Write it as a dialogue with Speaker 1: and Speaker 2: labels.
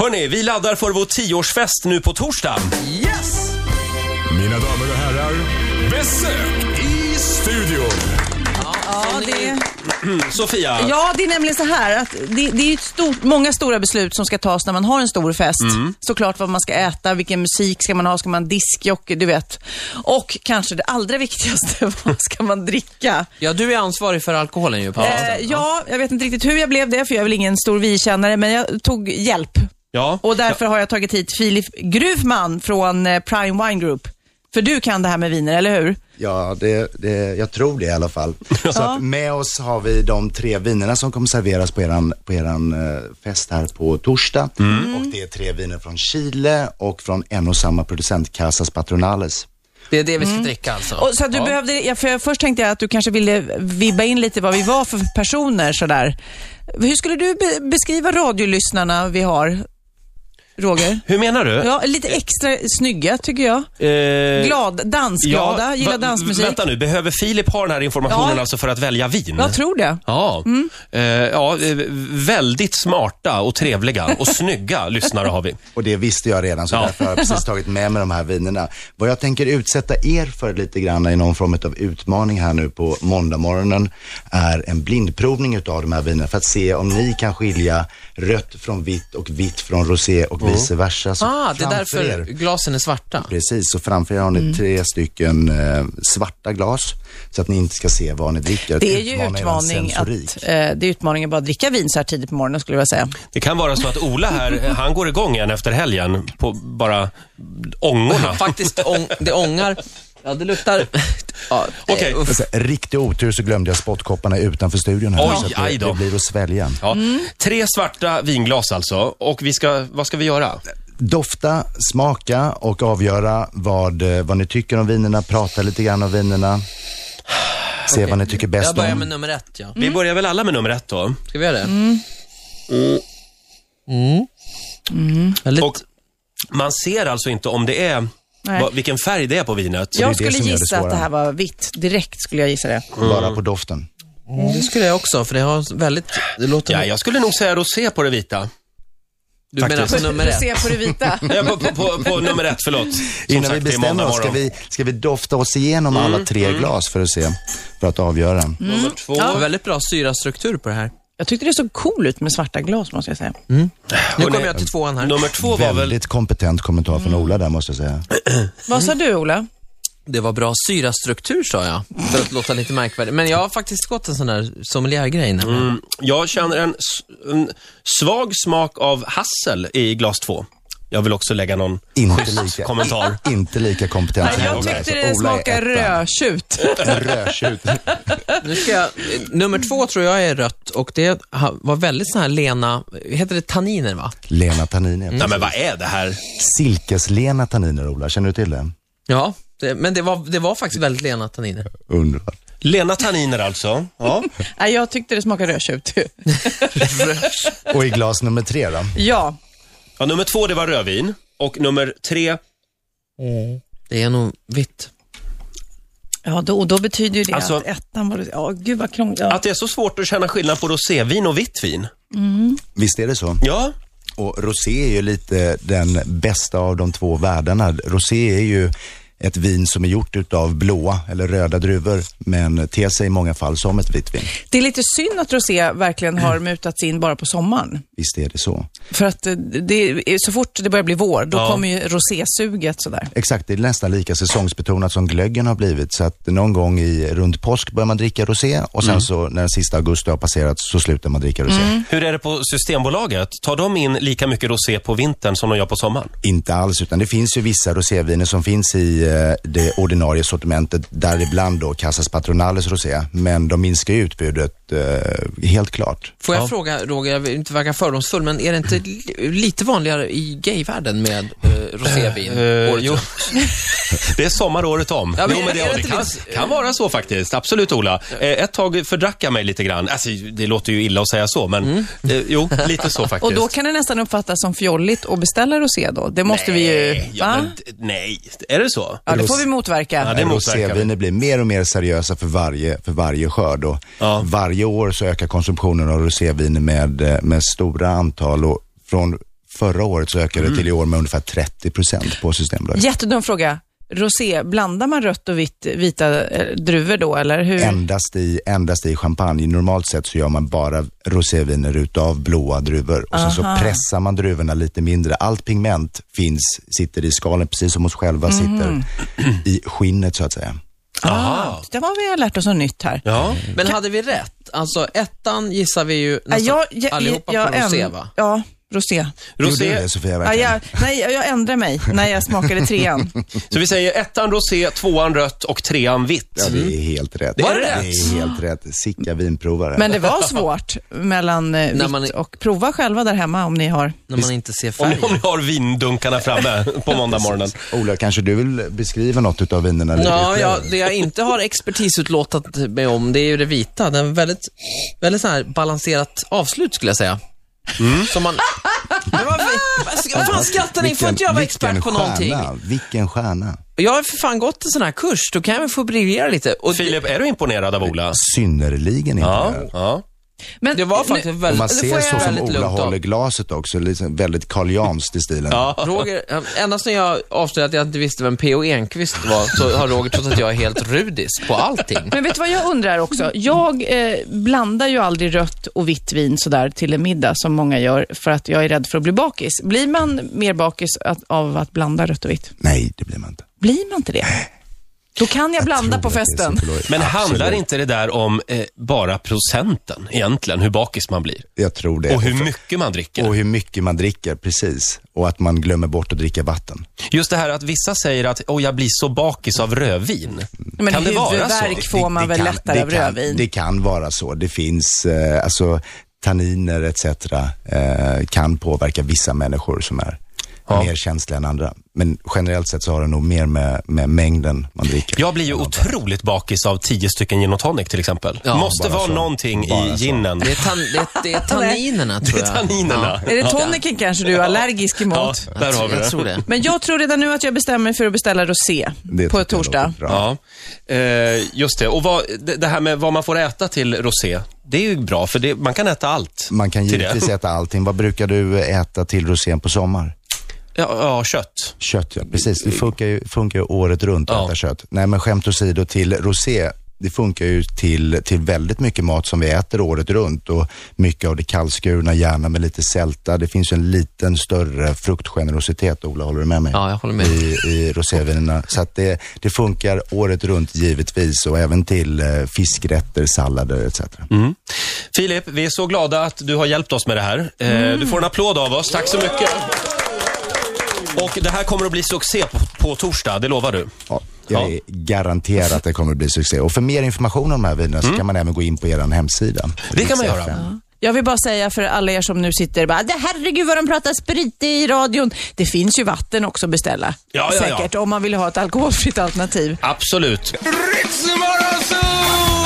Speaker 1: hörni, vi laddar för vår tioårsfest nu på torsdag.
Speaker 2: Yes!
Speaker 3: Mina damer och herrar, besök i studion.
Speaker 2: Ja, det,
Speaker 1: Sofia,
Speaker 2: ja, det är nämligen så här att det, det är ju ett stort, många stora beslut som ska tas när man har en stor fest.
Speaker 1: Mm.
Speaker 2: Såklart vad man ska äta, vilken musik ska man ha, ska man diskjockey, du vet. Och kanske det allra viktigaste, vad ska man dricka?
Speaker 4: Ja, du är ansvarig för alkoholen ju på
Speaker 2: Eh,
Speaker 4: festen.
Speaker 2: ja, jag vet inte riktigt hur jag blev det, för jag är väl ingen stor vikännare, men jag tog hjälp.
Speaker 1: ja.
Speaker 2: Och därför har jag tagit hit Filip Gruvman från eh, Prime Wine Group. För du kan det här med viner, eller hur?
Speaker 5: Ja, det, det, jag tror det i alla fall. Så att med oss har vi de tre vinerna som kommer serveras på eran, på eran eh, fest här på torsdag.
Speaker 3: Mm.
Speaker 5: Och det är tre viner från Chile och från en och samma producent, Casas Patronales.
Speaker 4: Det är det vi ska dricka alltså.
Speaker 2: Och så att du
Speaker 4: ja.
Speaker 2: behövde, ja, för jag, först tänkte jag att du kanske ville vibba in lite vad vi var för personer sådär. Hur skulle du be- beskriva radiolyssnarna vi har, Roger?
Speaker 1: hur menar du?
Speaker 2: Ja, lite extra snygga tycker jag.
Speaker 1: Eh,
Speaker 2: Glad, dansglada,
Speaker 1: ja,
Speaker 2: gillar
Speaker 1: va-
Speaker 2: dansmusik.
Speaker 1: Vänta nu, behöver Filip ha den här informationen
Speaker 2: Ja.
Speaker 1: alltså för att välja vin?
Speaker 2: Jag tror Mm. det.
Speaker 1: Ja. Eh, ja, eh, väldigt smarta och trevliga och snygga lyssnare har vi.
Speaker 5: Och det visste jag redan så
Speaker 1: Ja.
Speaker 5: därför har jag precis tagit med mig de här vinerna. Vad jag tänker utsätta er för lite grann i någon form av utmaning här nu på måndagmorgonen är en blindprovning utav de här vinerna för att se om ni kan skilja rött från vitt och vitt från rosé och vice versa. Så
Speaker 4: Ah, det är
Speaker 5: framför
Speaker 4: därför
Speaker 5: er-
Speaker 4: glasen är svarta.
Speaker 5: Precis, så framför er har ni tre stycken eh, svarta glas så att ni inte ska se vad ni dricker.
Speaker 2: Det är ju
Speaker 5: Utmana er
Speaker 2: utmaning att,
Speaker 5: sensorik.
Speaker 2: eh, det är utmaning att bara dricka vin så här tidigt på morgonen skulle jag vilja säga.
Speaker 1: Det kan vara så att Ola här, han går igång igen efter helgen på bara ångorna.
Speaker 4: Faktiskt, ång, det ångar. Ja, det luktar... Ja, eh,
Speaker 1: Okej.
Speaker 4: uff.
Speaker 5: Alltså, riktig otur så glömde jag spottkopparna utanför studion här.
Speaker 1: Oj,
Speaker 5: så att
Speaker 1: aj
Speaker 5: det,
Speaker 1: då.
Speaker 5: det blir att svälja.
Speaker 1: Ja.
Speaker 2: Mm.
Speaker 1: Tre svarta vinglas alltså. Och vi ska, vad ska vi göra?
Speaker 5: Dofta, smaka och avgöra vad, eh, vad ni tycker om vinerna. Prata lite grann om vinerna. Se vad ni tycker
Speaker 4: Jag
Speaker 5: bäst
Speaker 4: börjar
Speaker 5: om.
Speaker 4: med nummer ett, ja.
Speaker 2: Mm.
Speaker 1: Vi börjar väl alla med nummer ett då?
Speaker 4: Ska vi göra det? Mm. Väldigt...
Speaker 1: Och man ser alltså inte om det är,
Speaker 2: Nej.
Speaker 1: vad, vilken färg det är på vinet.
Speaker 2: Jag
Speaker 5: det
Speaker 2: skulle
Speaker 5: som gör det
Speaker 2: gissa att
Speaker 5: svåra.
Speaker 2: det här var vitt. Direkt skulle jag gissa det.
Speaker 5: Bara på doften.
Speaker 4: Det skulle jag också, för det har väldigt... Det låter...
Speaker 1: Ja, jag skulle nog säga rosé på det vita.
Speaker 4: du menar
Speaker 1: faktiskt.
Speaker 4: på nummer ett?
Speaker 2: Se på det vita.
Speaker 1: Ja, på, på, på, på nummer ett, förlåt. Som
Speaker 5: Innan
Speaker 1: sagt,
Speaker 5: vi
Speaker 1: det är måndag
Speaker 5: bestämmer oss, ska
Speaker 1: morgon. Mm,
Speaker 5: vi, ska vi dofta oss igenom alla tre glas för att se, för att avgöra.
Speaker 1: Nummer två.
Speaker 4: Det var väldigt bra syrastruktur på det här.
Speaker 2: Jag tyckte det såg cool ut med svarta glas måste jag säga.
Speaker 4: Nu
Speaker 1: Hörrni,
Speaker 4: kommer jag till tvåan här.
Speaker 1: Nummer två var väl... Mm.
Speaker 5: Väldigt kompetent kommentar från Ola där måste jag säga.
Speaker 2: Vad sa du Ola?
Speaker 4: Det var bra syrastruktur sa jag, för att låta lite märkvärdig. Men jag har faktiskt gått en sån där sommeliergrej nämligen.
Speaker 1: Mm, jag känner en, s- en svag smak av hassel i glas två. Jag vill också lägga någon
Speaker 5: Inte lika,
Speaker 1: kommentar.
Speaker 5: inte lika kompetent
Speaker 2: Nej, jag
Speaker 5: Ola.
Speaker 2: tyckte
Speaker 5: Så
Speaker 2: det
Speaker 5: Ola är
Speaker 2: smakade
Speaker 5: ettan.
Speaker 2: rödtjut.
Speaker 5: Rödtjut.
Speaker 4: Nu ska jag, eh, nummer två tror jag är rött och det ha- var väldigt sån här lena, heter det tanniner va?
Speaker 5: Lena Tanniner.
Speaker 1: Nej, men vad är det här?
Speaker 5: Silkeslena Tanniner, Ola. Känner du till det?
Speaker 4: Ja, det, men det var, det var faktiskt väldigt lena tanniner.
Speaker 5: Underbart.
Speaker 1: Lena Tanniner alltså. Ja.
Speaker 2: Nej, jag tyckte det smakade rödtjut.
Speaker 5: Och i glas nummer tre då?
Speaker 2: ja.
Speaker 1: ja. Nummer två, det var rödvin. Och nummer tre,
Speaker 4: Det är nog vitt.
Speaker 2: Ja, då, då betyder ju det
Speaker 1: Alltså-
Speaker 2: att ettan var... Ja, gud vad krångligt. Ja.
Speaker 1: att det är så svårt att känna skillnad på rosévin och vitt vin.
Speaker 5: Visst är det så?
Speaker 1: Ja,
Speaker 5: Och rosé är ju lite den bästa av de två världarna. Rosé är ju ett vin som är gjort utav blåa eller röda druvor men ter sig i många fall som ett vitt vin.
Speaker 2: Det är lite synd att rosé verkligen har
Speaker 1: Mm.
Speaker 2: mutats in bara på sommaren.
Speaker 5: Visst är det så.
Speaker 2: För att eh, det, är- så fort det börjar bli vår, då kommer ju rosésuget sådär.
Speaker 5: Exakt, det är nästan lika säsongsbetonat som glöggen har blivit. Så att någon gång i, runt påsk börjar man dricka rosé och sen så när den sista augusti har passerat så slutar man dricka rosé.
Speaker 1: hur är det på Systembolaget? Tar de in lika mycket rosé på vintern som de gör på sommaren?
Speaker 5: Inte alls, utan det finns ju vissa roséviner som finns i eh, det ordinarie sortimentet, däribland då Casas Patronales rosé. Men de minskar ju utbudet, eh, helt klart.
Speaker 4: Får jag fråga Roger, jag vill inte verka fördomsfull, men är det inte li- lite vanligare i gayvärlden med eh, rosévin?
Speaker 1: Eh,
Speaker 4: året
Speaker 1: jo.
Speaker 4: runt?
Speaker 1: Det är sommar året om.
Speaker 4: Ja, men
Speaker 1: jo, men det,
Speaker 4: är det
Speaker 1: det
Speaker 4: inte
Speaker 1: kan,
Speaker 4: lite-
Speaker 1: kan vara så faktiskt. Absolut, Ola. Eh, ett tag fördrack jag mig lite grann. Alltså, det låter ju illa att säga så, men eh, jo, lite så faktiskt.
Speaker 2: Och då kan det nästan uppfattas som fjolligt att beställa rosé då. Det måste vi ju...
Speaker 1: Nej, ja,
Speaker 2: Ja,
Speaker 1: men, d- nej, är det så?
Speaker 2: ja, det får vi
Speaker 1: Ja,
Speaker 2: motverka.
Speaker 1: det motverkar vi.
Speaker 5: Roséviner blir mer och mer seriösa för varje, för varje skörd och
Speaker 1: Ja.
Speaker 5: varje år så ökar konsumtionen av rosévin med, eh, med stora antal och från förra året så ökade
Speaker 1: Mm.
Speaker 5: det till i år med ungefär 30 procent på Systembolaget.
Speaker 2: Jättedum fråga. Rosé, blandar man rött och vitt, vita eh, druvor då eller hur?
Speaker 5: Endast i, endast i champagne. Normalt sett så gör man bara roséviner utav blåa druvor och sen så pressar man druvorna lite mindre. Allt pigment finns, sitter i skalen precis som hos själva sitter i skinnet så att säga.
Speaker 2: Ah, det var vi har lärt oss något nytt här.
Speaker 1: Ja.
Speaker 4: Men hade vi rätt? Alltså ettan gissar vi ju
Speaker 2: Ja,
Speaker 4: nästan Alltså, allihopa på
Speaker 2: änd-
Speaker 4: rosé va?
Speaker 2: Ja, rosé.
Speaker 5: Gjorde du
Speaker 1: Rosé.
Speaker 5: det Sofia
Speaker 2: Ja,
Speaker 5: verkligen?
Speaker 2: jag, nej, jag ändrar mig när jag smakade trean.
Speaker 1: Så vi säger ettan rosé, tvåan rött och trean vitt.
Speaker 5: Ja, det är helt rätt.
Speaker 1: Var det
Speaker 5: det
Speaker 1: rätt?
Speaker 5: är helt rätt. Sicka vinprovare.
Speaker 2: Men det var svårt mellan eh, vitt
Speaker 4: När man är-
Speaker 2: och prova själva där hemma om ni har.
Speaker 4: När man inte ser
Speaker 1: Om, om
Speaker 4: färgen.
Speaker 1: ni har vindunkarna framme på måndag morgonen.
Speaker 5: Ola, kanske du vill beskriva något utav vinerna lite
Speaker 4: Ja,
Speaker 5: ytterligare?
Speaker 4: ja, det jag inte har expertisutlåtat mig om, det är ju det vita. Den väldigt, väldigt så här balanserat avslut skulle jag säga.
Speaker 5: Mm.
Speaker 4: Som man... Men vad- alltså, Vad fan skrattar ni? Får inte jag vara expert på
Speaker 5: vilken
Speaker 4: någonting?
Speaker 5: Stjärna, vilken stjärna.
Speaker 4: Jag har för fan gått en sån här kurs, då kan jag väl få briljera lite. Och det,
Speaker 1: Filip, är du imponerad av Ola?
Speaker 5: Synnerligen
Speaker 1: Ja.
Speaker 5: imponerad.
Speaker 1: ja.
Speaker 2: Men
Speaker 4: det var faktiskt
Speaker 2: nu,
Speaker 5: Och
Speaker 4: väldigt...
Speaker 5: man
Speaker 4: det får
Speaker 5: ser
Speaker 4: jag
Speaker 5: så
Speaker 4: göra
Speaker 5: som
Speaker 4: lite
Speaker 5: Ola
Speaker 4: lugnt av.
Speaker 5: håller glaset också, liksom väldigt Carl Jans till stilen. Ja.
Speaker 4: Roger, endast när jag avslöjade att jag inte visste vem P.O. Enquist var, så har Roger trott att jag är helt rudis på allting.
Speaker 2: Men vet du vad jag undrar också? Jag eh, blandar ju aldrig rött och vitt vin sådär till en middag som många gör för att jag är rädd för att bli bakis. Blir man mer bakis att, av att blanda rött och vitt?
Speaker 5: Nej, det blir man inte.
Speaker 2: Blir man inte det? Då kan jag, blanda
Speaker 5: tror
Speaker 2: på
Speaker 5: att det är
Speaker 2: festen.
Speaker 5: så förlåt.
Speaker 1: Men handlar
Speaker 5: Absolut.
Speaker 1: inte det där om eh, bara procenten egentligen, hur bakis man blir?
Speaker 5: Jag tror det.
Speaker 1: Och hur
Speaker 5: Eh, för-
Speaker 1: mycket man dricker?
Speaker 5: och hur mycket man dricker, precis. Och att man glömmer bort att dricka vatten.
Speaker 1: Just det här att vissa säger att åh, jag blir så bakis av rödvin.
Speaker 2: Men
Speaker 1: kan det vara så?
Speaker 2: huvudvärk får man väl lättare
Speaker 5: det
Speaker 2: av
Speaker 5: kan,
Speaker 2: rödvin?
Speaker 5: Det kan vara så. Det finns, eh, alltså tanniner etc. Eh, kan påverka vissa människor som är mer känsliga än andra. Men generellt sett så har det nog mer med, med mängden man dricker.
Speaker 1: Jag blir ju otroligt bakis av tio stycken gin och tonic till exempel. Måste
Speaker 5: bara
Speaker 1: vara
Speaker 5: så.
Speaker 1: någonting
Speaker 5: Bara
Speaker 1: i
Speaker 5: så.
Speaker 1: ginen.
Speaker 4: Det är, tan, det, det är tanninerna, tror
Speaker 1: Det är
Speaker 4: jag.
Speaker 1: tanninerna.
Speaker 2: Är det toniken kanske du är allergisk
Speaker 1: Ja,
Speaker 2: emot?
Speaker 1: där har vi
Speaker 4: Jag
Speaker 1: det.
Speaker 4: tror det.
Speaker 2: Men jag tror redan nu att jag bestämmer mig för att beställa rosé
Speaker 5: Det tycker
Speaker 2: på
Speaker 5: jag
Speaker 2: torsdag.
Speaker 5: låter bra.
Speaker 1: Ja, eh, just det. Och vad, det, det här med vad man får äta till rosé, det är ju bra för det, man kan äta allt.
Speaker 5: Man kan
Speaker 1: till det.
Speaker 5: givetvis äta allting. Vad brukar du äta till rosén på sommar?
Speaker 1: Ja, ja, kött.
Speaker 5: Kött ja, precis. Det funkar ju, funkar ju året runt att
Speaker 1: Ja.
Speaker 5: äta kött. Nej men skämt åsido till rosé, det funkar ju till, till väldigt mycket mat som vi äter året runt och mycket av det kallskurna, gärna med lite sälta. Det finns ju en liten större fruktgenerositet, Ola håller du med mig?
Speaker 4: Ja, jag håller med.
Speaker 5: I, i rosévinerna. Så att det, det funkar året runt givetvis och även till eh, fiskrätter, sallader etc.
Speaker 1: Mm. Filip, vi är så glada att du har hjälpt oss med det här. Eh, Du får en applåd av oss. Tack så mycket. Och det här kommer att bli succé på, på torsdag, det lovar du.
Speaker 5: Ja, jag är garanterad att det kommer att bli succé. Och för mer information om de här vinerna så kan man även gå in på er hemsida.
Speaker 1: Mm. Det kan man
Speaker 5: Riks
Speaker 1: göra.
Speaker 5: FM.
Speaker 2: Jag vill bara säga för alla er som nu sitter och bara, "Det- herregud vad de pratar sprit i radion. Det finns ju vatten också att beställa.
Speaker 1: Ja, ja, ja.
Speaker 2: Säkert, om man vill ha ett alkoholfritt alternativ.
Speaker 1: Absolut.
Speaker 3: Ritzmorgonzoo!